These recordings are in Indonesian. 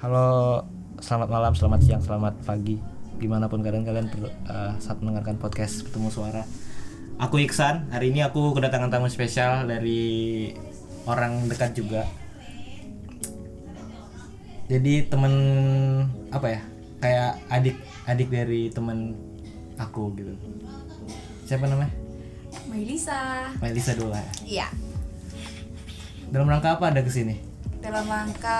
Halo, selamat malam, selamat siang, selamat pagi. Dimanapun kalian kalian perlu- eh, saat mendengarkan podcast bertemu suara. Aku Iksan. Hari ini aku kedatangan tamu spesial dari orang dekat juga. Jadi temen apa ya? Kayak adik adik dari temen aku gitu. Siapa namanya? Melisa. Melisa Dola. ya? Iya. Dalam rangka apa ada kesini? Dalam rangka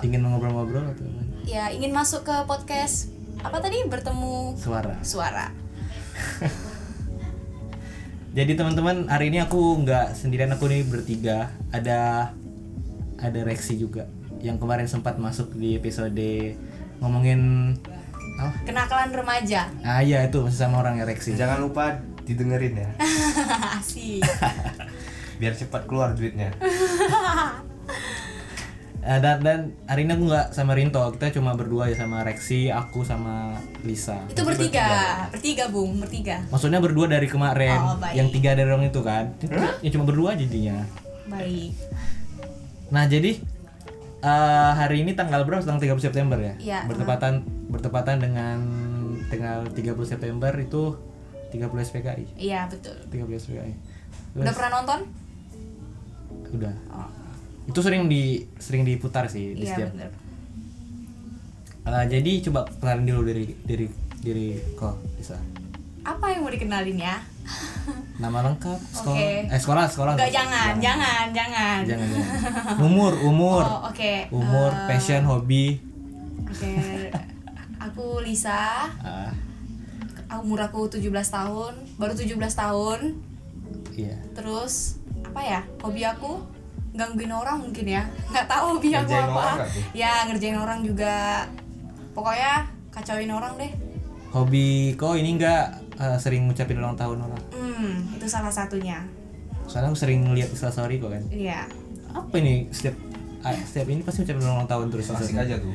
Ingin ngobrol-ngobrol atau gimana? ya ingin masuk ke podcast apa tadi bertemu suara? suara. Jadi teman-teman hari ini aku nggak sendirian aku nih bertiga ada ada Rexi juga yang kemarin sempat masuk di episode ngomongin apa? Kenakalan remaja. Ah iya itu masih sama orang ya Rexi. Jangan lupa didengerin ya, Asik. biar cepat keluar duitnya. Eh, dan, dan hari ini aku nggak sama Rinto kita cuma berdua ya sama Rexi aku sama Lisa. Itu bertiga. Bertiga, Bung, bertiga. Maksudnya berdua dari kemarin Oh, baik. yang tiga dari orang itu kan? Ya cuma berdua jadinya. Baik. Nah jadi eh, hari ini tanggal berapa? Tanggal 30 September ya? Iya, Bertepatan bertepatan dengan tanggal 30 September itu 30 SPKI. Iya, betul. 30 SPKI. Terus, Udah pernah nonton? udah. Oh, Itu sering di sering diputar sih di iya setiap. benar. Eh, jadi coba kenalin dulu dari dari dari kok bisa. Apa yang mau dikenalin ya? Nama lengkap, sekolah, Oke. eh sekolah, sekolah. Enggak jangan, jangan, jangan. Jangan, jangan. Umur, umur. Oh, oke. Umur, Eh, passion, hobi. Oke. Aku Lisa. Ah, Umur aku 17 tahun, baru 17 tahun. iya. terus apa ya hobi aku gangguin orang mungkin ya nggak tahu hobi aku Ngerjain apa orang nggak tuh? ya ngerjain orang juga pokoknya kacauin orang deh Hobi kok ini enggak eh, sering ngucapin ulang tahun orang. hmm itu salah satunya Soalnya aku sering lihat instastory kok kan. iya Apa ini setiap ah, setiap ini pasti ngucapin ulang tahun terus. Asik aja tuh.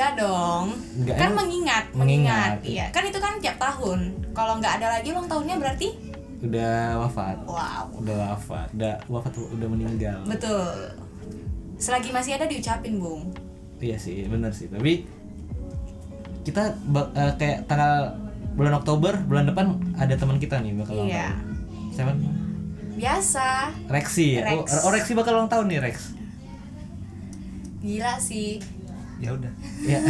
nggak dong Nggak, kan emang- mengingat mengingat. mengingat iya kan itu kan tiap tahun kalau nggak ada lagi ulang tahunnya berarti Udah wafat. wow Udah wafat. Udah wafat udah meninggal. betul selagi masih ada diucapin bung Iya sih, bener sih. Tapi kita bak- eh, kayak tanggal bulan Oktober bulan depan ada teman kita nih bakal ulang Iya. tahun. Siapa? biasa Rexi ya. Oh, Rex. Oh, Rexi bakal ulang tahun nih Rex. gila sih Ya udah. Iya.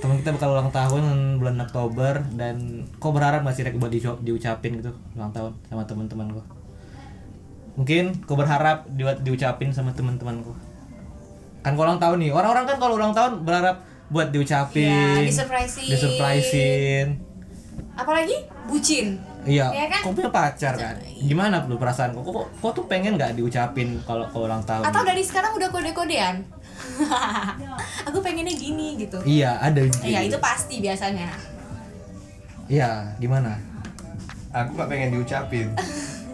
Temen kita bakal ulang tahun bulan Oktober dan kok berharap gak sih Rek buat diucap- diucapin gitu ulang tahun sama teman-teman lo? Mungkin kau berharap di, diucapin sama teman-teman lo. Kan kau ulang tahun nih. Orang-orang kan kalau ulang tahun berharap buat diucapin. Iya, disurprisein. disurprisein. apalagi bucin Iya, Iya kan? kau punya pacar kan? Gimana lu perasaan kau? Kok, kok tuh pengen nggak diucapin kalau kau ulang tahun? Atau dari sekarang udah kode-kodean? aku pengennya gini gitu. Iya, ada. Iya, gitu. itu pasti biasanya. Iya, gimana? Aku nggak pengen diucapin,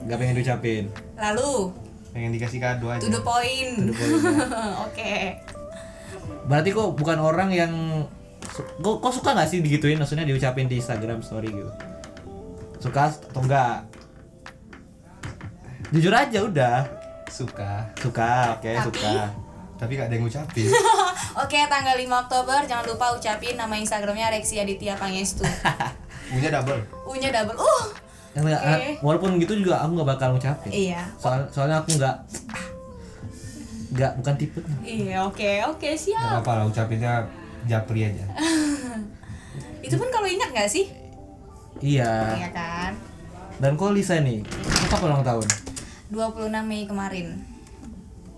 Gak pengen diucapin. Lalu, pengen dikasih kado aja. to the point. the point, Oke. Berarti kok bukan orang yang su- kok, kok suka nggak sih digituin maksudnya diucapin di Instagram story gitu. Suka atau enggak? Jujur aja udah. Suka, Suka, oke Tapi- suka. tapi nggak ada yang ngucapin. Oke, tanggal 5 Oktober jangan lupa ucapin nama Instagramnya Rexi Aditya Pangestu. Punya double. Unya double. Uh. Enggak, Oke. eh, walaupun gitu juga aku nggak bakal ngucapin. Iya. Soal, soalnya aku nggak nggak bukan tipe Iya, oke, oke, Gak siap. apa lah ucapinnya japri aja. Itu pun kalau ingat nggak sih? iya Iya kan? dan kok Lisa nih kok kapan ulang tahun 26 Mei kemarin.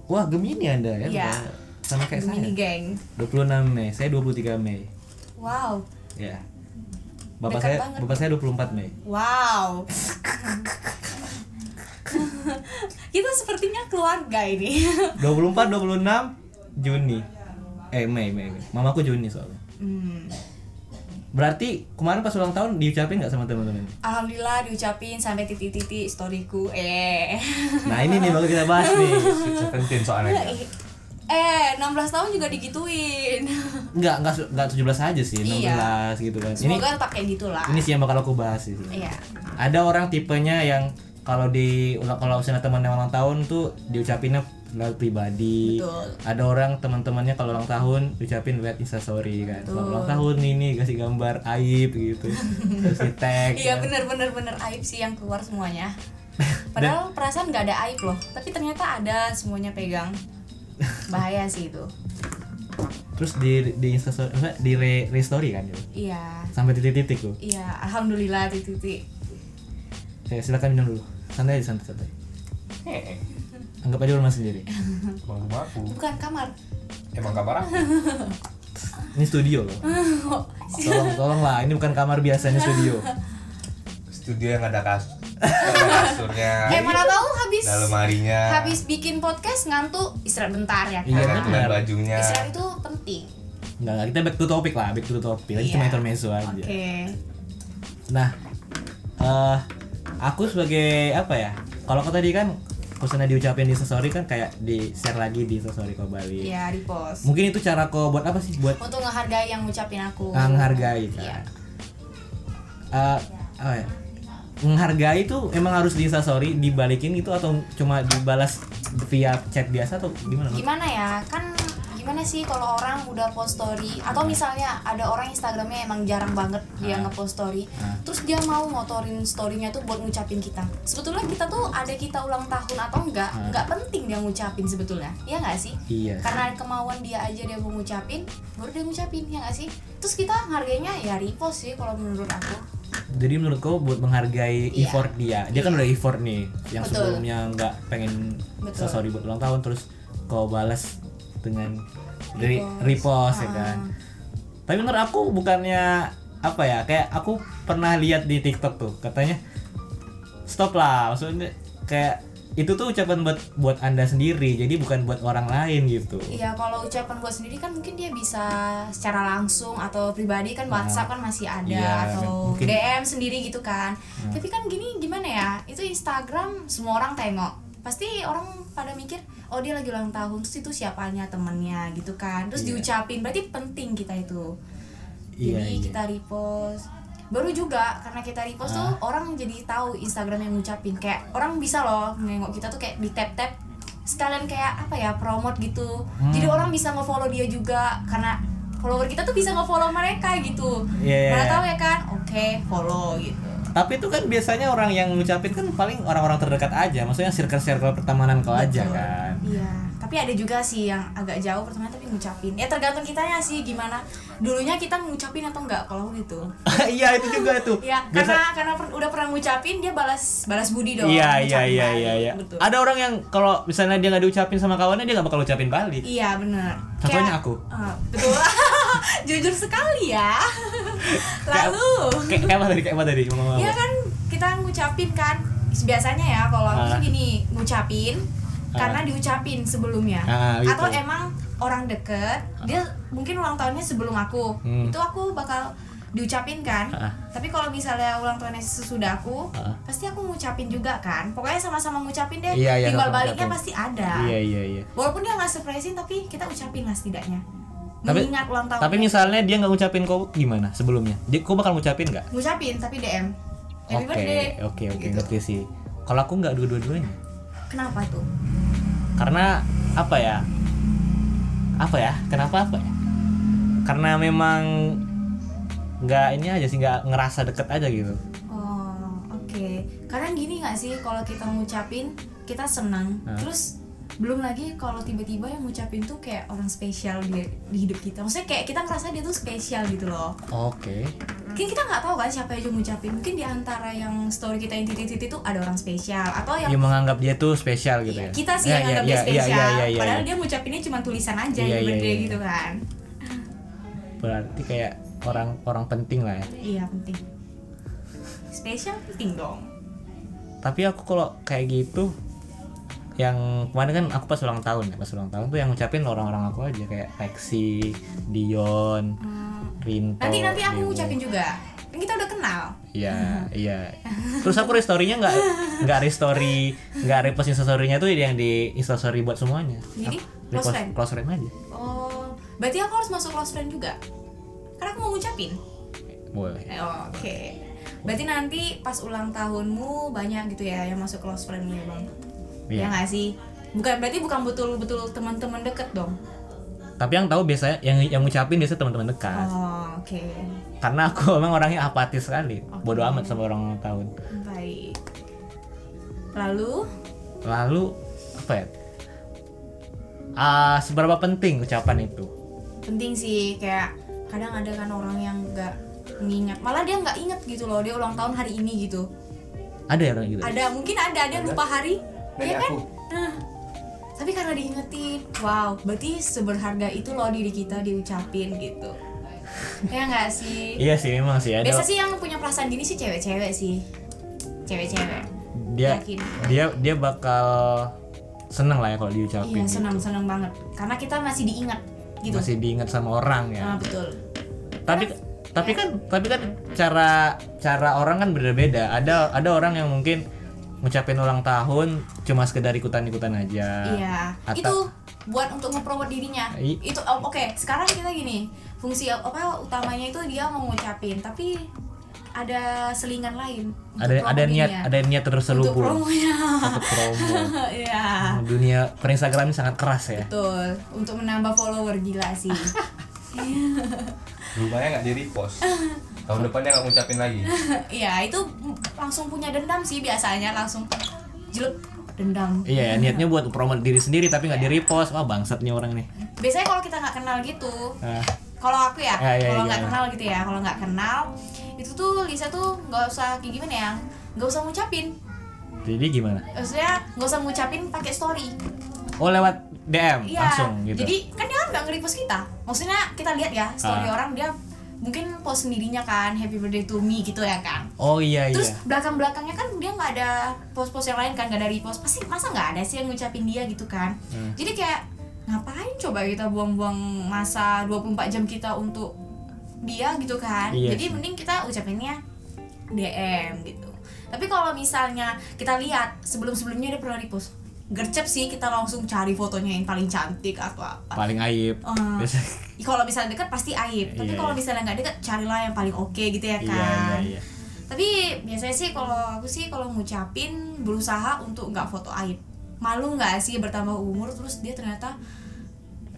wah Gemini anda ya Iya. sama kayak Mini geng. saya 26 Mei saya 23 Mei Wow. Ya. Bapak Dekat saya banget. bapak saya 24 Mei. Wow. Kita sepertinya keluarga ini. 24 26 Juni. Eh Mei Mei. Mei. Mamaku Juni soalnya. Hmm. Berarti kemarin pas ulang tahun diucapin nggak sama teman-teman? Alhamdulillah diucapin sampai titik-titik storyku. Eh. Nah, ini nih baru kita bahas nih. Sweet Seventeen soalnya. Eh, 16 tahun juga digituin. Nggak enggak enggak 17 aja sih, 16 Iya. gitu kan. Ini Semoga tetap kayak gitulah. ini sih yang bakal aku bahas sih. Iya. Ada orang tipenya yang kalau di ulang- kalau misalnya teman yang ulang tahun tuh diucapinnya lalu pribadi Betul. ada orang teman-temannya kalau ulang tahun ucapin lihat instastory kan kalau ulang tahun ini kasih gambar aib gitu terus di tag Iya kan. bener bener bener aib sih yang keluar semuanya. Padahal perasaan nggak ada aib loh, tapi ternyata ada semuanya pegang. Bahaya sih itu. terus di di instastory apa, di re, restory kan gitu. Iya. sampai titik-titik tuh Iya, alhamdulillah titik-titik. Oke, silakan minum dulu santai aja santai santai anggap aja rumah sendiri Iya. Bangku aku. Bukan kamar. Emang kabar aku. ini studio loh Oh, iya. tolong tolong lah ini bukan kamar biasanya studio Studio yang ada kas. ada kasurnya. Eh gitu. mana tahu habis Ada lemarinya. habis bikin podcast ngantuk istirahat bentar ya Iya, Ada kan. tulen benar. bajunya. Istirahat itu penting. Enggak, enggak, kita back to topic lah, back to topic. Lagi cuma Iya. intermezzo aja. Oke. Nah, eh aku sebagai apa ya? Kalau kau tadi kan pesannya diucapin di story kan kayak di share lagi di story kau balik. Iya, di post. Mungkin itu cara kau buat apa sih? Buat Untuk ngehargai yang ngucapin aku. menghargai kan. Oh. Iya. Eh, apa ya? Menghargai itu emang harus di story dibalikin itu atau cuma dibalas via chat biasa atau gimana? gimana ya kan gimana sih kalau orang udah post story atau misalnya ada orang Instagramnya emang jarang banget dia Ah. ngepost story Ah. terus dia mau ngotorin storynya tuh buat ngucapin kita sebetulnya kita tuh ada kita ulang tahun atau enggak Ah. enggak penting dia ngucapin sebetulnya ya nggak sih Iya. karena kemauan dia aja dia mau ngucapin baru dia ngucapin ya nggak sih terus kita harganya ya repost sih kalau menurut aku Jadi menurut kau buat menghargai Iya. effort dia, dia kan udah effort nih, yang Betul. sebelumnya nggak pengen Betul. sorry buat ulang tahun terus kau balas dengan re- Repost. Ah. repost ya kan. Tapi menurut aku bukannya apa ya, kayak aku pernah lihat di TikTok tuh katanya stop lah, maksudnya kayak itu tuh ucapan buat buat anda sendiri, jadi bukan buat orang lain gitu. Iya, kalau ucapan gue sendiri kan mungkin dia bisa secara langsung atau pribadi kan WhatsApp kan masih ada Iya, atau mungkin. Iya. DM sendiri gitu kan. Tapi kan gini gimana ya? Itu Instagram semua orang tengok. Pasti orang pada mikir, oh dia lagi ulang tahun, terus itu siapanya temennya gitu kan. Iya. Terus diucapin, berarti penting kita itu. Iya, Jadi iya. kita repost. Baru juga karena kita repost tuh orang jadi tahu Instagram yang ngucapin kayak orang bisa loh nengok kita tuh kayak di tap tap sekalian kayak apa ya promote gitu. Hmm. Jadi orang bisa nge-follow dia juga karena follower kita tuh bisa nge-follow mereka gitu. Iya, iya, Mana iya. tahu ya kan? Oke, follow gitu. Tapi itu kan biasanya orang yang ngucapin kan paling orang-orang terdekat aja, maksudnya circle-circle pertemanan kau aja Betul. kan. Iya, tapi ada juga sih yang agak jauh pertemanan tapi ngucapin. Ya tergantung kitanya sih gimana. Dulunya kita ngucapin atau enggak kalau aku gitu. Iya itu juga tuh. Ya, Biasa- karena karena per- udah pernah ngucapin dia balas balas budi dong. Iya iya ngucapin iya balik. iya. iya. Betul. Ada orang yang kalau misalnya dia nggak diucapin sama kawannya dia nggak bakal ucapin balik. Iya benar. Contohnya aku. betul. Jujur sekali ya. Kayak- Lalu Kayak kayak apa tadi kayak apa tadi ngomong apa? Iya kan kita ngucapin kan biasanya ya kalau aku Ah. sih gini ngucapin Ah. karena diucapin sebelumnya Ah, gitu. Ah. atau emang orang deket dia mungkin ulang tahunnya sebelum aku Hmm. itu aku bakal diucapin kan Ah. tapi kalau misalnya ulang tahunnya sesudah aku Ah. pasti aku ngucapin juga kan pokoknya sama-sama ngucapin deh Iya, iya, timbal sama-sama baliknya ngucapin. pasti ada Iya iya iya. walaupun dia nggak surprisein tapi kita ucapin lah setidaknya Tapi- mengingat ulang tahun Tapi misalnya dia nggak ngucapin kau gimana sebelumnya? Dia kau bakal ngucapin nggak? ngucapin tapi DM Happy Oke birthday. oke oke Gitu. ngerti sih. Kalau aku nggak dua-duanya. kenapa tuh Karena apa ya? Apa ya? Kenapa apa ya? Karena memang nggak ini aja sih nggak ngerasa deket aja gitu. Oh, oke. Kadang gini nggak sih kalau kita ngucapin kita senang, Hah? terus belum lagi kalau tiba-tiba yang ngucapin tuh kayak orang spesial di, di hidup kita. Maksudnya kayak kita ngerasa dia tuh spesial gitu loh. Oke. Mungkin kita nggak tahu kan siapa yang ngucapin. Mungkin di antara yang story kita yang titik-titik tuh ada orang spesial atau yang Dia menganggap dia tuh spesial gitu Iya, ya. Iya. kita sih Ya, yang ya, anggap dia ya, ya, spesial. ya, ya, ya, Padahal ya. dia ngucapinnya cuma tulisan aja Iya, yang iya, gede iya. gitu kan. berarti kayak orang orang penting lah ya Iya penting. Spesial penting dong. tapi aku kalau kayak gitu yang kemarin kan aku pas ulang tahun ya pas ulang tahun tuh yang ngucapin orang-orang aku aja kayak Lexi, Dion, Hmm, Rinto. Nanti nanti aku Dewo. ngucapin juga. Kan kita udah kenal. Iya iya. Terus aku restorynya nggak nggak restory nggak repost instastorynya tuh yang di instastory buat semuanya. Jadi, Aku close repost friend? close friend aja. Oh, berarti aku harus masuk close friend juga? Karena aku mau ngucapin. Boleh. Eh, oh, Oke. Berarti nanti pas ulang tahunmu banyak gitu ya yang masuk close friend-mu ya, Bang. Iya. Ya nggak sih? bukan berarti bukan betul-betul teman-teman deket dong tapi yang tahu biasanya yang yang ngucapin biasanya teman-teman dekat oh oke karena aku emang orangnya apatis sekali Oh, bodoh amat sama orang ulang tahun baik lalu lalu apa ya Ah, seberapa penting ucapan itu penting sih kayak kadang ada kan orang yang nggak ngingat malah dia nggak inget gitu loh dia ulang tahun hari ini gitu ada ya orang gitu ada mungkin ada ada yang lupa hari Nanya ya kan aku. nah tapi karena diingetin wow berarti seberharga itu loh diri kita diucapin gitu ya nggak sih iya sih memang sih ada biasa sih yang punya perasaan gini sih cewek-cewek sih cewek-cewek dia yakin. dia dia bakal seneng lah ya kalau diucapin iya gitu. senang senang banget karena kita masih diingat gitu masih diingat sama orang ya nah, betul tapi tapi kan tapi kan cara cara orang kan berbeda ada ada orang yang mungkin ngucapin ulang tahun cuma sekedar ikutan ikutan aja Iya, Atau- itu buat untuk ngepromot dirinya. I- itu oh, oke, sekarang kita gini. Fungsi apa utamanya itu dia mau ngucapin, tapi ada selingan lain. untuk ada ada promo niat dirinya. ada niat terus untuk selubur promonya. untuk promo Iya. dunia per Instagram ini sangat keras ya Betul, untuk menambah follower gila sih. Rumahnya nggak di repost. Tahun depannya nggak ngucapin lagi. Iya, itu langsung punya dendam sih biasanya langsung jelek dendam. iya niatnya buat promote diri sendiri tapi nggak di repost wah bangsatnya orang nih Biasanya kalau kita nggak kenal gitu, Ah, kalau aku ya, Ya, ya, kalau ya, nggak gimana? kenal gitu ya kalau nggak kenal itu tuh Lisa tuh nggak usah kayak gimana ya nggak usah ngucapin jadi gimana maksudnya nggak usah ngucapin pakai story oh lewat DM iya langsung gitu jadi kan dia kan nggak nge-repost kita maksudnya kita lihat ya story Ah. orang dia mungkin post sendirinya kan happy birthday to me gitu ya kan oh iya iya terus belakang belakangnya kan dia nggak ada post-post yang lain kan nggak ada repost pasti masa nggak ada sih yang ngucapin dia gitu kan Hmm. jadi kayak ngapain coba kita buang-buang masa 24 jam kita untuk dia gitu kan Iya sih. jadi mending kita ucapinnya DM gitu tapi kalau misalnya kita lihat sebelum-sebelumnya dia pernah repost gercep sih kita langsung cari fotonya yang paling cantik atau apa paling aib Iya, Ah. Biasa- Ih, kalau misalnya dekat pasti aib tapi Iya, kalau iya. misalnya nggak dekat carilah yang paling oke gitu ya kan iya iya iya tapi biasanya sih kalau aku sih kalau ngucapin berusaha untuk nggak foto aib malu nggak sih bertambah umur terus dia ternyata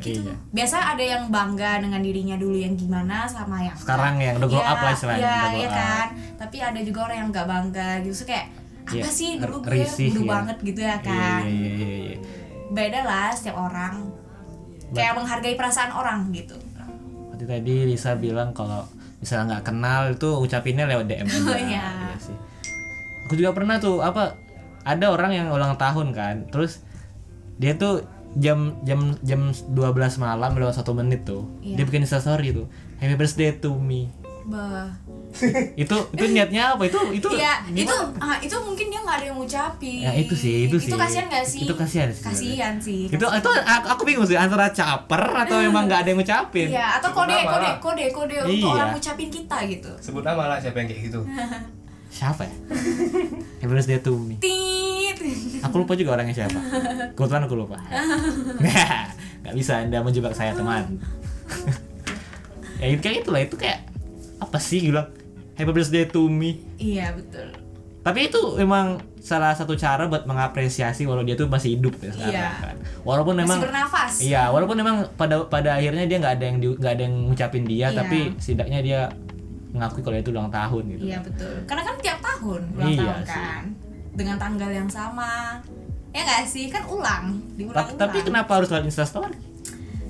gitu Iya. biasa ada yang bangga dengan dirinya dulu yang gimana sama yang Sekarang yang udah grow Iya, up lah istilahnya, iya, udah grow iya up. kan tapi ada juga orang yang nggak bangga gitu so, kayak apa Iya, sih dulu r- gue risih bodoh ya. banget gitu ya kan Iya, iya, iya, iya. beda lah setiap orang kayak menghargai perasaan orang gitu Waktu tadi Lisa bilang kalau misalnya nggak kenal itu ucapinnya lewat DM aja. Oh, iya. sih. Aku juga pernah tuh apa ada orang yang ulang tahun kan, terus dia tuh jam jam jam 12 malam lewat satu menit tuh Iya. dia bikin instastory tuh happy birthday to me bah itu itu niatnya apa itu itu Iya, itu gimana? ah, itu mungkin dia nggak ada yang ngucapin. Ya, itu sih, itu sih. Itu kasihan nggak sih? Itu kasihan sih. Kasihan sih. itu itu aku, aku bingung sih antara caper atau emang nggak ada yang ngucapin Iya, atau Cukup kode, lama kode, lah. kode, kode untuk Iya. orang ngucapin kita gitu. Sebut nama lah siapa yang kayak gitu. siapa ya happy birthday to me Tit. Aku lupa juga orangnya siapa. Kebetulan aku lupa. Gak bisa Anda menjebak saya, teman. ya itu kayak itulah itu kayak apa sih bilang happy birthday to me. Iya, betul. Tapi itu memang salah satu cara buat mengapresiasi walau dia tuh masih hidup ya sekarang Iya. kan. Walaupun memang Masih bernafas. Iya, walaupun memang pada pada akhirnya dia nggak ada yang di- nggak ada yang ngucapin dia, Iya. tapi setidaknya dia mengakui kalau itu ulang tahun gitu. Iya, betul. Karena kan tiap tahun ulang Iya tahun sih. kan. Dengan tanggal yang sama. Ya nggak sih? Kan ulang, Tapi, diulang-ulang. tapi kenapa harus lewat instastory?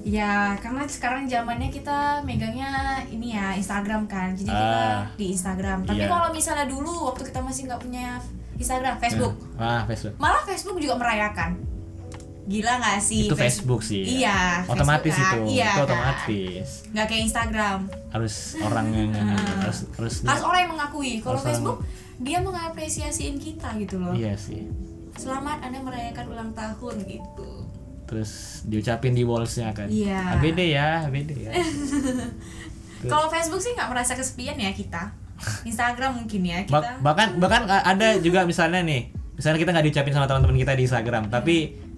Ya, karena sekarang zamannya kita megangnya ini ya Instagram kan. Jadi kita Ah. di Instagram. Tapi Iya. kalau misalnya dulu waktu kita masih nggak punya Instagram, Facebook. Wah, Ah, Facebook. Malah Facebook juga merayakan. Gila nggak sih? Itu Facebook sih. ya. Iya. otomatis Facebook kan. itu Iya, itu kan? otomatis Nggak kayak Instagram. harus orang yang harus harus Hmm. Harus orang yang mengakui. Harus Kalau orang- Facebook dia mengapresiasiin kita gitu loh. iya sih Selamat Anda merayakan ulang tahun gitu. terus diucapin di wallsnya kan Iya. ABD ya ABD ya Betul. Kalau Facebook sih nggak merasa kesepian ya kita. Instagram mungkin ya kita. Ba- bahkan bahkan a- ada juga misalnya nih misalnya kita nggak diucapin sama teman-teman kita di Instagram tapi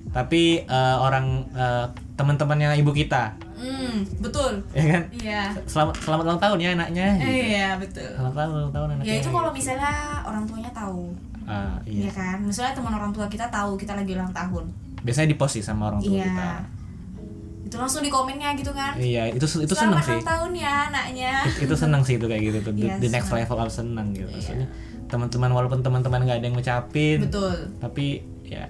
tapi eh, orang eh, teman-temannya ibu kita Hmm, betul. ya kan Iya. selamat selamat ulang tahun ya anaknya gitu. Iya, betul. selamat tahun ulang tahun anaknya Ya itu kalau misalnya orang tuanya tahu, Ah, ya gitu. iya kan? Misalnya teman orang tua kita tahu kita lagi ulang tahun. biasanya di post sih sama orang tua kita iya itu langsung di komennya gitu kan iya itu itu seneng Selamat sih ulang tahun ya anaknya itu seneng sih itu kayak gitu tuh Iya, the next level up seneng gitu maksudnya teman-teman walaupun teman-teman nggak ada yang ngucapin betul tapi ya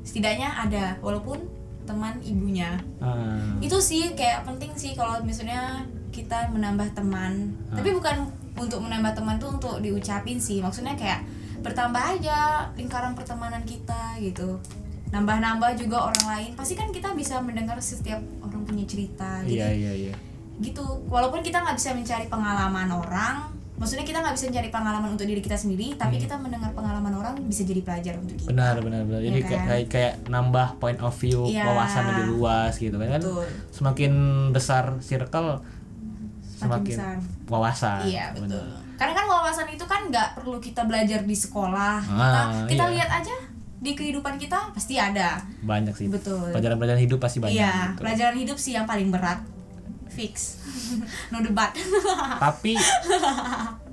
setidaknya ada walaupun teman ibunya eh, itu sih kayak penting sih kalau misalnya kita menambah teman Ah. tapi bukan untuk menambah teman tuh untuk diucapin sih maksudnya kayak bertambah aja lingkaran pertemanan kita gitu nambah-nambah juga orang lain pasti kan kita bisa mendengar setiap orang punya cerita iya jadi iya iya gitu walaupun kita nggak bisa mencari pengalaman orang maksudnya kita nggak bisa mencari pengalaman untuk diri kita sendiri tapi kita mendengar pengalaman orang bisa jadi pelajar untuk kita benar benar benar jadi Iya kayak, kan? kayak kayak nambah point of view Iya. wawasan lebih luas gitu kan Betul. semakin besar circle semakin, Semakin besar. wawasan Iya betul. benar. Karena kan wawasan itu kan nggak perlu kita belajar di sekolah. Kita Ah, kita iya. lihat aja di kehidupan kita pasti ada. banyak sih Betul. pelajaran-pelajaran hidup pasti banyak iya, gitu. pelajaran hidup sih yang paling berat. Fix. no debat. tapi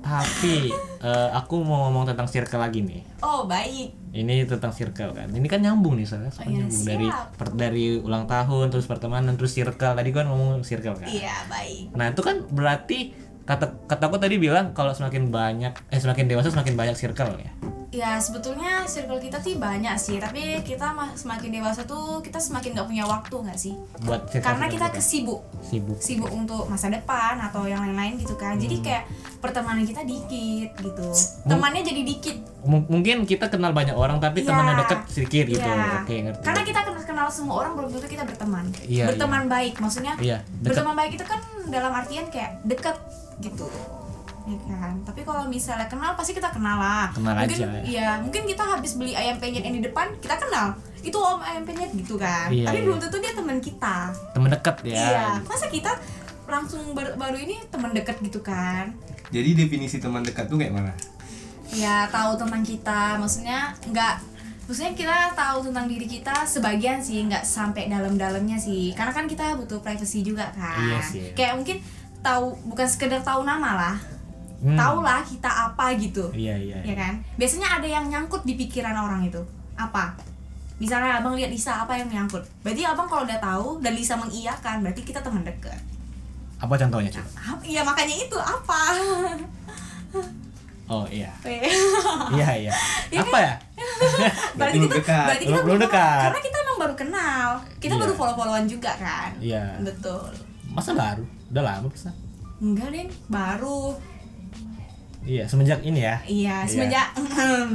tapi eh, aku mau ngomong tentang circle lagi nih oh, baik. ini tentang circle kan ini kan nyambung nih soalnya soalnya iya, nyambung siap. dari per- dari ulang tahun terus pertemanan terus circle tadi kan ngomong circle kan Iya, baik. nah itu kan berarti kata kataku tadi bilang kalau semakin banyak eh semakin dewasa semakin banyak circle ya Ya, sebetulnya circle kita sih banyak sih, tapi kita ma- semakin dewasa tuh kita semakin nggak punya waktu nggak sih? buat circle Karena kita kesibuk sibuk sibuk untuk masa depan atau yang lain-lain gitu kan. Hmm. Jadi kayak pertemanan kita dikit gitu. Temannya jadi dikit M- mungkin kita kenal banyak orang tapi Iya. temannya dekat sedikit gitu Iya. oke ngerti Karena kita kenal kenal semua orang belum tentu kita berteman. Iya, berteman baik maksudnya. Iya, dekat. Berteman baik itu kan dalam artian kayak dekat gitu. Ya kan. Tapi kalau misalnya kenal pasti kita kenal lah. Kenal mungkin, aja. Iya, mungkin kita habis beli ayam penyet yang di depan, kita kenal. Itu om ayam penyet gitu kan. Iya, Tapi iya. belum tentu dia teman kita. teman dekat ya Iya. Masa kita langsung bar- baru ini teman dekat gitu kan. Jadi definisi teman dekat tuh kayak mana? ya tahu tentang kita maksudnya nggak maksudnya kita tahu tentang diri kita sebagian sih nggak sampai dalam-dalamnya sih karena kan kita butuh privacy juga kan Iya sih. kayak mungkin tahu bukan sekedar tahu nama lah Hmm. tahu lah kita apa gitu iya iya ya kan biasanya ada yang nyangkut di pikiran orang itu apa misalnya abang lihat Lisa apa yang nyangkut berarti abang kalau udah tahu dan Lisa mengiyakan berarti kita teman dekat apa contohnya Cuk? Ap- iya makanya itu apa oh iya Eh. iya iya Iya apa ya Berarti berarti belum kita dekat. berarti kita Belum- belum dekat. karena kita emang baru kenal kita Iya. baru follow followan juga kan Iya. betul masa baru udah lama bisa enggak deh baru iya semenjak ini ya iya semenjak Ehem.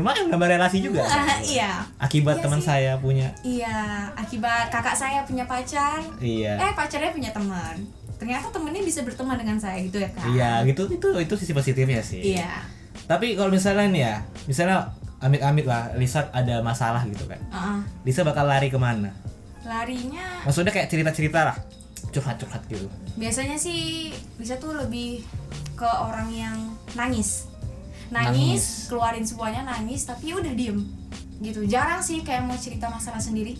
lumayan gambar relasi juga Ah, iya akibat Iya teman sih. saya punya iya akibat kakak saya punya pacar iya eh pacarnya punya teman ternyata temennya bisa berteman dengan saya gitu ya kak iya gitu itu itu sisi positifnya sih iya tapi kalau misalnya nih ya misalnya amit-amit lah Lisa ada masalah gitu kan Heeh. Lisa bakal lari kemana larinya maksudnya kayak cerita-cerita lah curhat-curhat gitu biasanya sih bisa tuh lebih ke orang yang nangis nangis, Nangis. keluarin semuanya nangis tapi udah diem gitu jarang sih kayak mau cerita masalah sendiri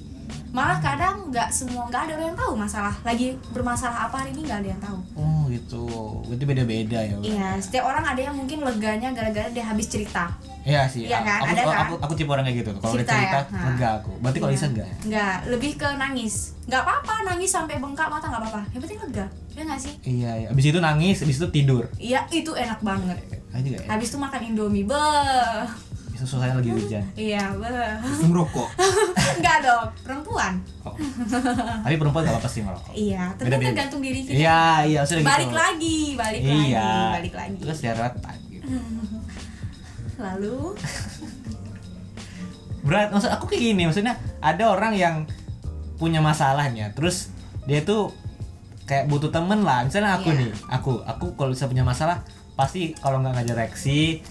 malah kadang nggak semua nggak ada orang yang tahu masalah lagi bermasalah apa hari ini nggak ada yang tahu oh gitu berarti beda-beda ya Bang? iya setiap orang ada yang mungkin leganya gara-gara dia habis cerita Iya sih Iya kan? aku, Ada aku, kan? aku aku tipe orang kayak gitu kalau udah Cerita cerita ya? Nah. lega aku berarti kalau Lisa enggak ya? nggak lebih ke nangis nggak apa-apa nangis sampai bengkak mata nggak apa-apa yang penting lega ya nggak sih iya iya abis itu nangis abis itu tidur iya itu enak banget aja gak ya habis itu makan indomie beuh bisa susahnya lagi hujan iya beuh Terus merokok. Enggak dong, perempuan. tapi perempuan gak apa-apa sih merokok Iya, tapi Beda-beda. tergantung diri kita. iya iya maksudnya gitu Balik lagi, balik iya lagi, balik lagi. itu kan stereotip gitu Lalu berat maksud aku kayak gini maksudnya ada orang yang punya masalahnya terus dia tuh kayak butuh temen lah misalnya aku Iya. nih aku aku kalau bisa punya masalah pasti kalau nggak ngajak Rexi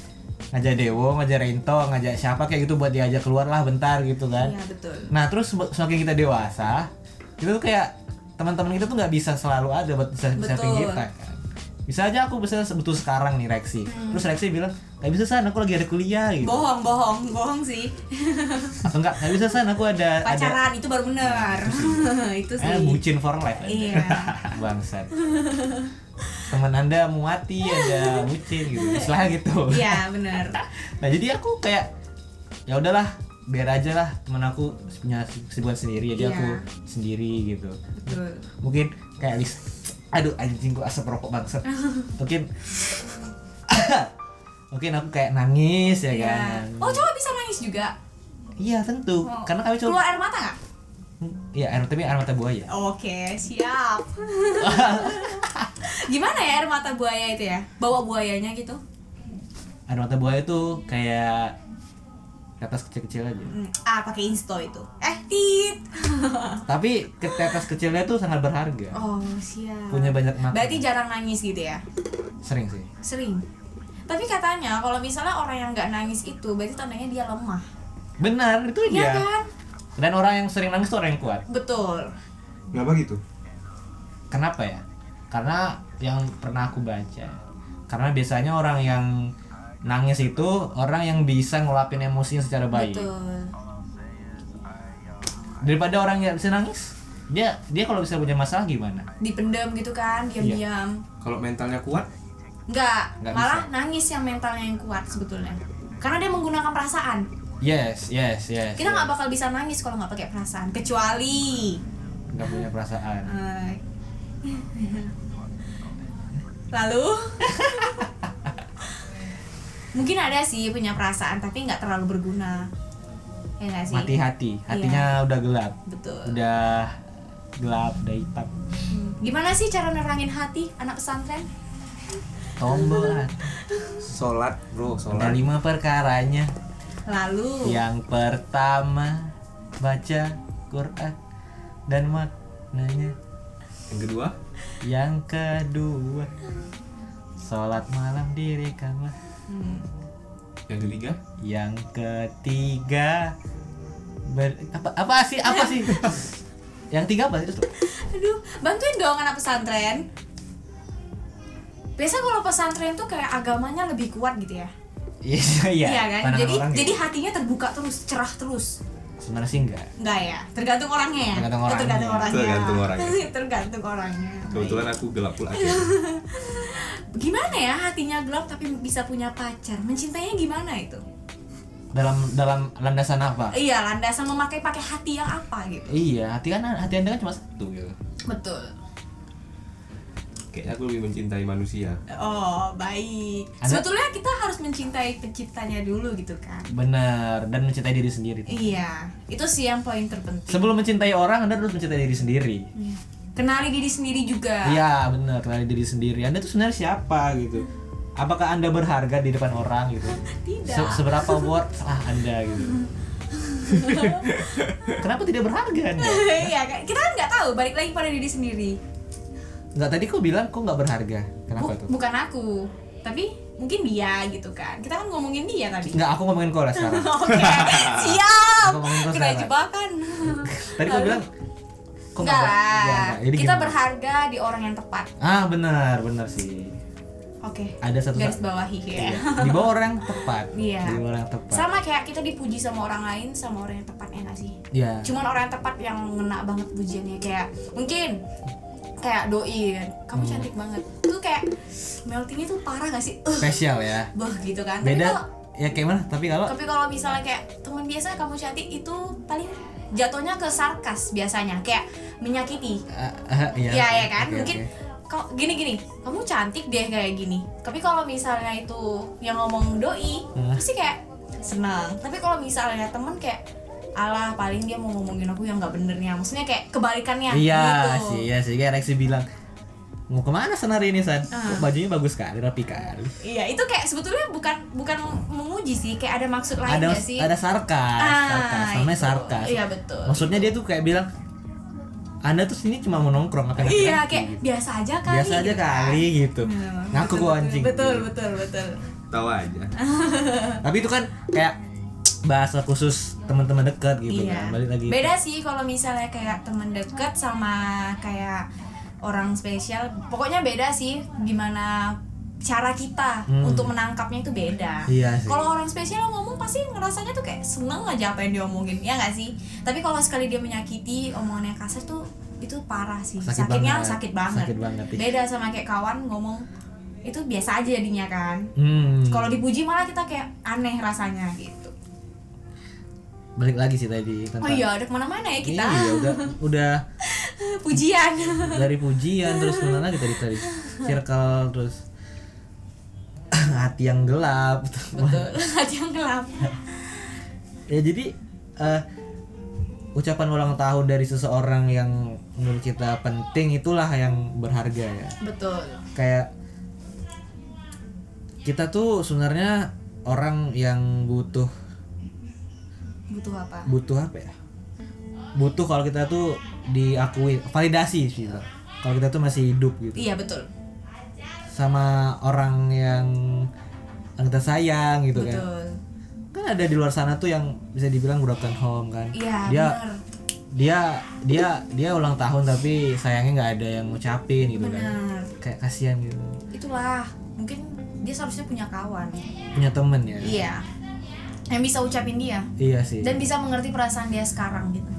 ngajak Dewo ngajak Rento ngajak siapa kayak gitu buat diajak keluar lah bentar gitu kan Iya, betul. nah terus sem- semakin kita dewasa itu tuh kayak teman-teman kita tuh nggak bisa selalu ada buat bisa bisa Betul. kita kan bisa aja aku bisa butuh sekarang nih Rexi Hmm. terus Rexi bilang nggak bisa san aku lagi ada kuliah gitu Bohong, bohong, bohong sih. Eh, atau enggak nggak bisa san aku ada ada Pacaran itu baru bener. itu sih. Eh, bucin for life aja. Iya. Bangsat. Teman Anda muati ada bucin gitu. Istilah gitu. Iya, bener. Nah, jadi aku kayak ya udahlah, biar aja lah temen aku punya kesibukan sendiri jadi Iya. aku sendiri gitu betul mungkin kayak list aduh anjing gua asap rokok bangsat mungkin mungkin aku kayak nangis ya Iya. kan oh cowok bisa nangis juga iya tentu Oh. karena kami coba keluar air mata nggak iya air tapi air mata buaya Oke, siap. Gimana ya air mata buaya itu ya? Bawa buayanya gitu? air mata buaya itu kayak tetes kecil-kecil aja Hmm, Ah, pakai insto itu. Eh, tit. tapi ke- tetes kecilnya tuh sangat berharga oh, siap. punya banyak makna Berarti jarang nangis gitu ya? sering sih Sering. Tapi katanya kalau misalnya orang yang nggak nangis itu berarti tandanya dia lemah. benar itu dia Iya kan? dan orang yang sering nangis tuh orang yang kuat Betul. Kenapa gitu? Kenapa ya? Karena yang pernah aku baca. Karena biasanya orang yang nangis itu orang yang bisa ngelapin emosinya secara baik. Betul. Daripada orang yang bisa nangis, dia dia kalau bisa punya masalah gimana? Dipendam gitu kan, Iya. diam-diam. Kalau mentalnya kuat, Nggak, Nggak malah nangis yang mentalnya yang kuat sebetulnya. Karena dia menggunakan perasaan. Yes, yes, yes. Kita nggak yes. bakal bisa nangis kalau nggak pakai perasaan, kecuali Nggak punya perasaan. Hai. Lalu Mungkin ada sih punya perasaan tapi nggak terlalu berguna Ya nggak sih? Mati hati, hatinya udah gelap, Betul udah gelap, udah hitam. Hmm. Gimana sih cara nerangin hati anak pesantren? Tombol hati. sholat Ada bro, sholat. lima perkaranya. Lalu Yang pertama baca Quran dan maknanya. Yang kedua, Yang kedua Sholat malam diri kamar Hmm. yang ketiga, Yang ketiga ber, apa, apa sih? Apa sih? yang tiga apa sih? Aduh, bantuin dong anak pesantren Biasa kalau pesantren tuh kayak agamanya lebih kuat gitu ya Iya, iya Iya kan? pandangan Jadi orang jadi gitu. hatinya terbuka terus, cerah terus Sebenarnya sih enggak Enggak ya, tergantung orangnya ya. Tergantung orangnya. Tergantung orangnya. Tergantung orangnya. Tergantung orangnya. kebetulan aku gelap pula Gimana ya hatinya gelap tapi bisa punya pacar? Mencintainya gimana itu? Dalam dalam landasan apa? Iya, landasan memakai pakai hati yang apa gitu. Iya, hati kan hati anda kan cuma satu gitu. Betul. Kayaknya aku lebih mencintai manusia. Oh, baik. Ada- Sebetulnya kita harus mencintai penciptanya dulu gitu kan. Benar dan mencintai diri sendiri. Iya, itu sih yang poin terpenting. Sebelum mencintai orang, anda harus mencintai diri sendiri. Iya. Kenali diri sendiri juga. Iya benar, kenali diri sendiri. Anda tuh sebenarnya siapa gitu? Apakah anda berharga di depan orang gitu? Tidak. Se- seberapa worth lah anda gitu? Kenapa tidak berharga anda? Iya, kan? kita kan nggak tahu balik lagi pada diri sendiri. Nggak tadi kok bilang kok nggak berharga? Kenapa Buk- tuh? bukan aku tapi mungkin dia gitu kan kita kan ngomongin dia tadi Nggak, aku ngomongin kau lah sekarang. oke siap Aku Nah. ngomongin terus kena sekarang. jebakan Tadi kau Lalu- bilang kok enggak ber- Nggak, lah nggak. Jadi kita gimana? berharga di orang yang tepat Ah benar benar sih. oke Ada satu garis bawahi ya Iya. Di bawah orang yang tepat. Iya. Di bawah orang yang tepat. sama kayak kita dipuji sama orang lain sama orang yang tepat enak sih Iya. cuman orang yang tepat yang ngena banget pujiannya kayak mungkin kayak doi kamu Hmm. cantik banget itu kayak meltingnya tuh parah gak sih Eh, Spesial ya. bah gitu kan Tapi Beda kalau- ya kayak mana? Tapi kalau tapi kalau misalnya kayak teman biasa kamu cantik itu paling jatuhnya ke sarkas biasanya kayak menyakiti Ah, ah, iya. ya ya kan Oke, mungkin oke. kok gini gini kamu cantik deh kayak gini tapi kalau misalnya itu yang ngomong doi Hah? pasti kayak senang tapi kalau misalnya temen kayak alah paling dia mau ngomongin aku yang nggak benernya maksudnya kayak kebalikannya Iya gitu sih, iya sih. Kayak Rexy bilang mau kemana San hari ini San? Ah. Kok bajunya bagus sekali, rapi kali. iya itu kayak sebetulnya bukan bukan memuji sih kayak ada maksud lain Ada nggak sih Iya, ada sarkas, sarkas, namanya itu. sarkas. iya betul Maksudnya dia tuh kayak bilang anda tuh sini cuma mau nongkrong apa yang Iya, keren?" kayak Gitu. biasa aja kali. biasa aja gitu kan. kali gitu. Hmm, Ngaku betul, gua betul, anjing. Betul, gitu. betul, betul. Tahu aja. Tapi itu kan kayak bahasa khusus teman-teman dekat gitu iya. kan. Balik lagi. Beda sih kalau misalnya kayak teman dekat sama kayak orang spesial. Pokoknya beda sih gimana cara kita Hmm. untuk menangkapnya itu beda. Iya sih. Kalau orang spesial ngomong pasti ngerasanya tuh kayak seneng aja apa yang diomongin, ya nggak sih? Tapi kalau sekali dia menyakiti omongannya kasar tuh itu parah sih. Sakit Sakitnya banget. sakit banget. Sakit banget, iya. Beda sama kayak kawan ngomong itu biasa aja jadinya kan. Hmm. Kalau dipuji malah kita kayak aneh rasanya gitu. balik lagi sih tadi tentang Oh iya, udah kemana-mana ya kita. Iya, udah udah Iya. Pujian. dari pujian terus kemana lagi tadi tadi circle terus hati yang gelap Betul. Hati yang gelap. ya jadi eh, ucapan ulang tahun dari seseorang yang menurut kita penting itulah yang berharga ya Betul. kayak kita tuh sebenarnya orang yang butuh Butuh apa? butuh apa ya butuh kalau kita tuh diakui validasi sih Bang. kalau kita tuh masih hidup gitu Iya, betul. sama orang yang yang kita sayang gitu kan Betul. kan ada di luar sana tuh yang bisa dibilang broken home kan Iya, dia benar. dia dia dia ulang tahun tapi sayangnya nggak ada yang ngucapin gitu kan Benar. kayak kasihan gitu Itulah. Mungkin dia seharusnya punya kawan. punya temen ya Iya. Yang bisa ucapin dia iya sih dan bisa mengerti perasaan dia sekarang gitu.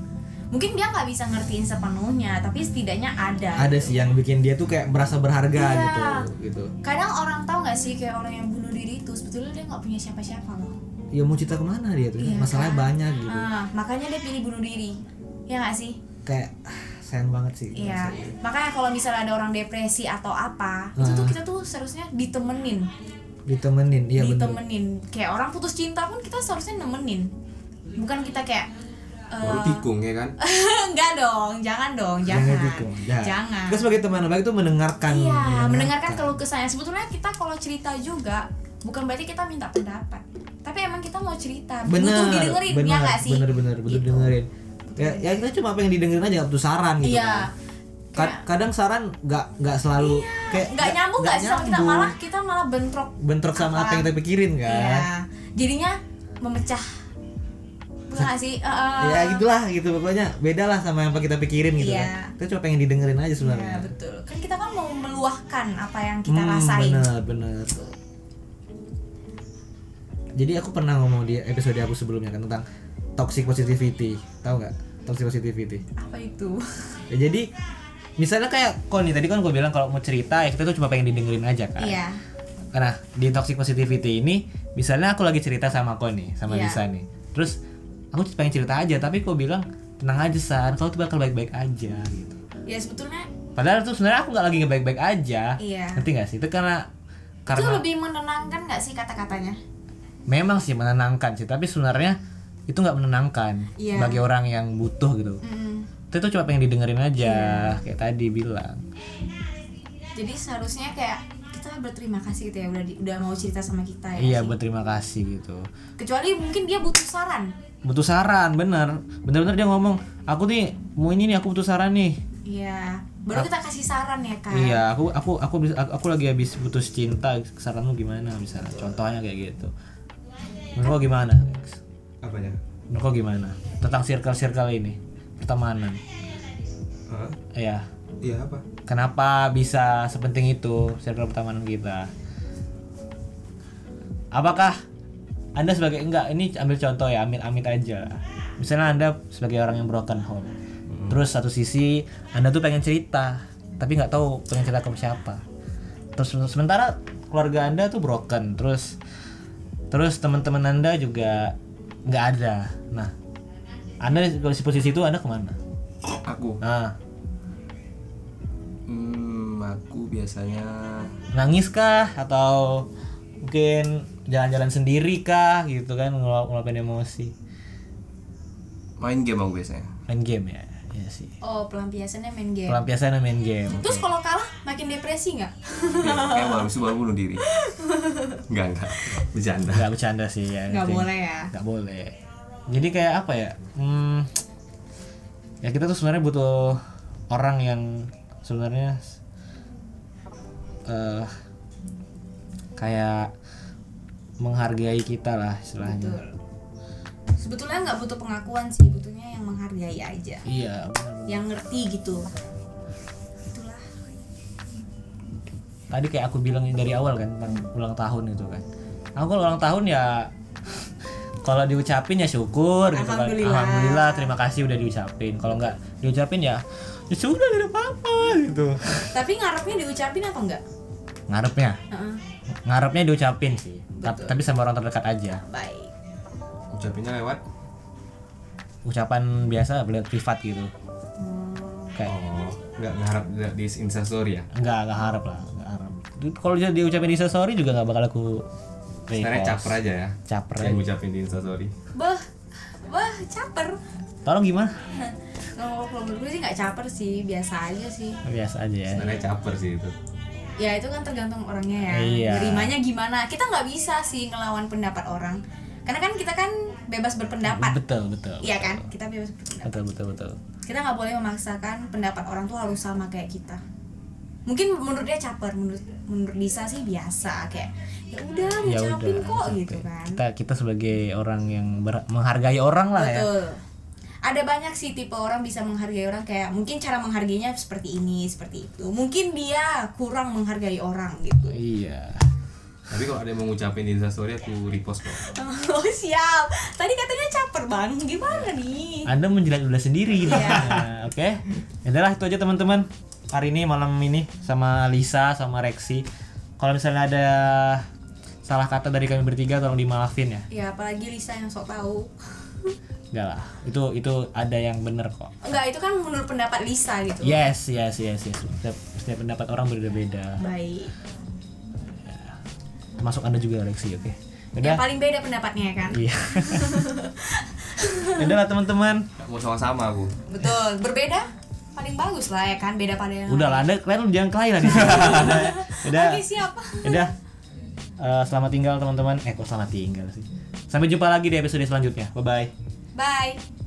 Mungkin dia nggak bisa ngertiin sepenuhnya, tapi setidaknya ada. ada sih yang bikin dia tuh kayak merasa berharga Iya. gitu gitu Kadang orang tahu nggak sih kayak orang yang bunuh diri itu sebetulnya dia nggak punya siapa-siapa loh. ya mau cerita kemana dia tuh Iya masalahnya kan? banyak gitu Ah, makanya dia pilih bunuh diri. Ya nggak sih? kayak ah, sayang banget sih Iya. Makanya kalau misalnya ada orang depresi atau apa, itu tuh kita tuh seharusnya ditemenin, ditemenin Ah. iya bener ditemenin. Kayak orang putus cinta pun kita seharusnya nemenin. Bukan kita kayak baru eh, tikung ya kan enggak dong, jangan dong, Oh, jangan. Jangan Jangan. tikung, jangan. Kita Ya. sebagai teman baik itu mendengarkan. ya kan? Iya, mendengarkan keluh kesahnya. Sebetulnya kita kalau cerita juga bukan berarti kita minta pendapat, tapi emang kita mau cerita. butuh Bener, didengerin, bener, ya nggak sih? Bener bener bener Gitu. dengerin. Ya, ya kita cuma pengen didengerin aja butuh saran gitu. Iya. kan. Ka- kadang saran nggak nggak selalu kayak Nggak nyambung nggak sih sama kita nyambung. malah kita malah bentrok. bentrok sama apa yang kita pikirin kan. Iya. Jadinya memecah. Bukan nggak sih? Eh, Ya gitulah gitu pokoknya bedalah sama yang kita pikirin gitu Iya. kan. Kita cuma pengen didengerin aja Iya, sebenarnya. betul. Kan kita kan mau meluahkan apa yang kita Hmm, rasain. Bener bener. Jadi aku pernah ngomong di episode aku sebelumnya kan tentang toxic positivity, tahu nggak? Toxic positivity. Apa itu? Ya, jadi misalnya kayak kau nih tadi kan gue bilang kalau mau cerita ya kita tuh cuma pengen didengerin aja kan. Iya. Karena di toxic positivity ini misalnya aku lagi cerita sama kau nih sama Iya. Lisa nih. Terus aku pengen cerita aja tapi kau bilang tenang aja San, kau tuh bakal baik-baik aja gitu. Ya sebetulnya Padahal tuh sebenarnya aku nggak lagi ngebaik-baik aja. Iya. Ngerti nggak sih? Itu karena itu karena lebih menenangkan nggak sih kata-katanya? memang sih menenangkan sih, tapi sebenarnya itu nggak menenangkan Iya. bagi orang yang butuh gitu. Mm. Itu tuh cuma pengen didengerin aja Iya. kayak tadi bilang. jadi seharusnya kayak kita berterima kasih gitu ya udah di- udah mau cerita sama kita ya Iya, sih? berterima kasih gitu. kecuali mungkin dia butuh saran Butuh saran, bener. Bener-bener dia ngomong, aku nih mau ini nih, aku butuh saran nih. iya baru kita kasih saran ya kan Iya, aku aku aku habis- aku, aku lagi habis putus cinta. Saranmu gimana misalnya? Contohnya kayak gitu. Menurut kau gimana? Lex? apanya Menurut kau gimana? Tentang circle-circle ini, pertemanan. Hah? Iya. iya apa Kenapa bisa sepenting itu circle pertemanan kita? Apakah Anda sebagai enggak ini ambil contoh ya, amit-amit aja. Misalnya Anda sebagai orang yang broken home. Terus satu sisi Anda tuh pengen cerita, tapi nggak tahu pengen cerita ke siapa. Terus sementara keluarga Anda tuh broken, terus terus teman-teman Anda juga nggak ada. Nah, Anda di posisi itu Anda kemana? aku Nah, hmm, aku biasanya nangis kah atau mungkin jalan-jalan sendiri kah gitu kan ngelu- ngeluapin emosi main game aku biasanya main game ya ya sih oh pelampiasannya main game pelampiasan main game terus kalau kalah makin depresi nggak Ya, kayak malam itu baru bunuh diri enggak enggak bercanda nggak bercanda sih ya nggak ngerti. boleh ya nggak boleh jadi kayak apa ya hmm, ya kita tuh sebenarnya butuh orang yang sebenarnya eh kayak menghargai kita lah istilahnya betul sebetulnya nggak butuh pengakuan sih butuhnya yang menghargai aja iya benar-benar. yang ngerti gitu itulah tadi kayak aku bilang dari awal kan tentang ulang tahun itu kan aku kalau ulang tahun ya kalau diucapin ya syukur gitu kan Alhamdulillah. alhamdulillah terima kasih udah diucapin kalau nggak diucapin ya ya sudah gak ada apa-apa gitu tapi ngarepnya diucapin apa enggak ngarepnya Heeh. ngarepnya diucapin sih Ta- tapi sama orang terdekat aja baik ucapinnya lewat ucapan biasa beliau privat gitu Hmm. kayak oh nggak ngarap nggak di instastory ya nggak nggak harap lah nggak harap kalau dia dia ucapin di story juga nggak bakal aku sebenarnya repost. caper aja ya caper yang ngucapin di instastory Bah, bah caper. tolong gimana Kalau kalau menurut gue sih nggak caper sih, biasa aja sih. biasa aja ya sebenarnya caper sih itu Ya itu kan tergantung orangnya ya. Iya. Nerimanya gimana? Kita nggak bisa sih ngelawan pendapat orang. Karena kan kita kan bebas berpendapat. betul betul Iya kan? Kita bebas berpendapat. betul betul betul Kita nggak boleh memaksakan pendapat orang tuh harus sama kayak kita. Mungkin menurut dia caper, menurut menurut Lisa sih biasa kayak ya udah ya ngucapin udah kok sampai. gitu kan. kita kita sebagai orang yang ber- menghargai orang lah ya Betul. Ada banyak sih tipe orang bisa menghargai orang kayak mungkin cara menghargainya seperti ini, seperti itu. Mungkin dia kurang menghargai orang gitu. iya tapi kalau ada yang mau ngucapin di instastory aku repost kok Oh siap. Tadi katanya caper bang, gimana nih? anda menjilat udah sendiri gitu. Iya. Nah, oke ya udahlah itu aja teman-teman hari ini malam ini sama Lisa sama Rexi kalau misalnya ada salah kata dari kami bertiga tolong dimaafin ya Ya apalagi Lisa yang sok tahu. enggak lah itu itu ada yang bener kok Enggak itu kan menurut pendapat Lisa gitu. yes yes yes yes setiap, setiap pendapat orang berbeda-beda Baik. termasuk anda juga Rexi oke Yang udah paling beda pendapatnya ya kan. iya udah lah teman-teman Nah. Nggak mau sama-sama aku Betul. Berbeda paling bagus lah ya kan beda pada yang udah lah anda kalian jangan kelahi lah di sini. udah ya. udah Oke siap. udah Eh, selamat tinggal teman-teman eh kok selamat tinggal sih sampai jumpa lagi di episode selanjutnya bye bye Bye.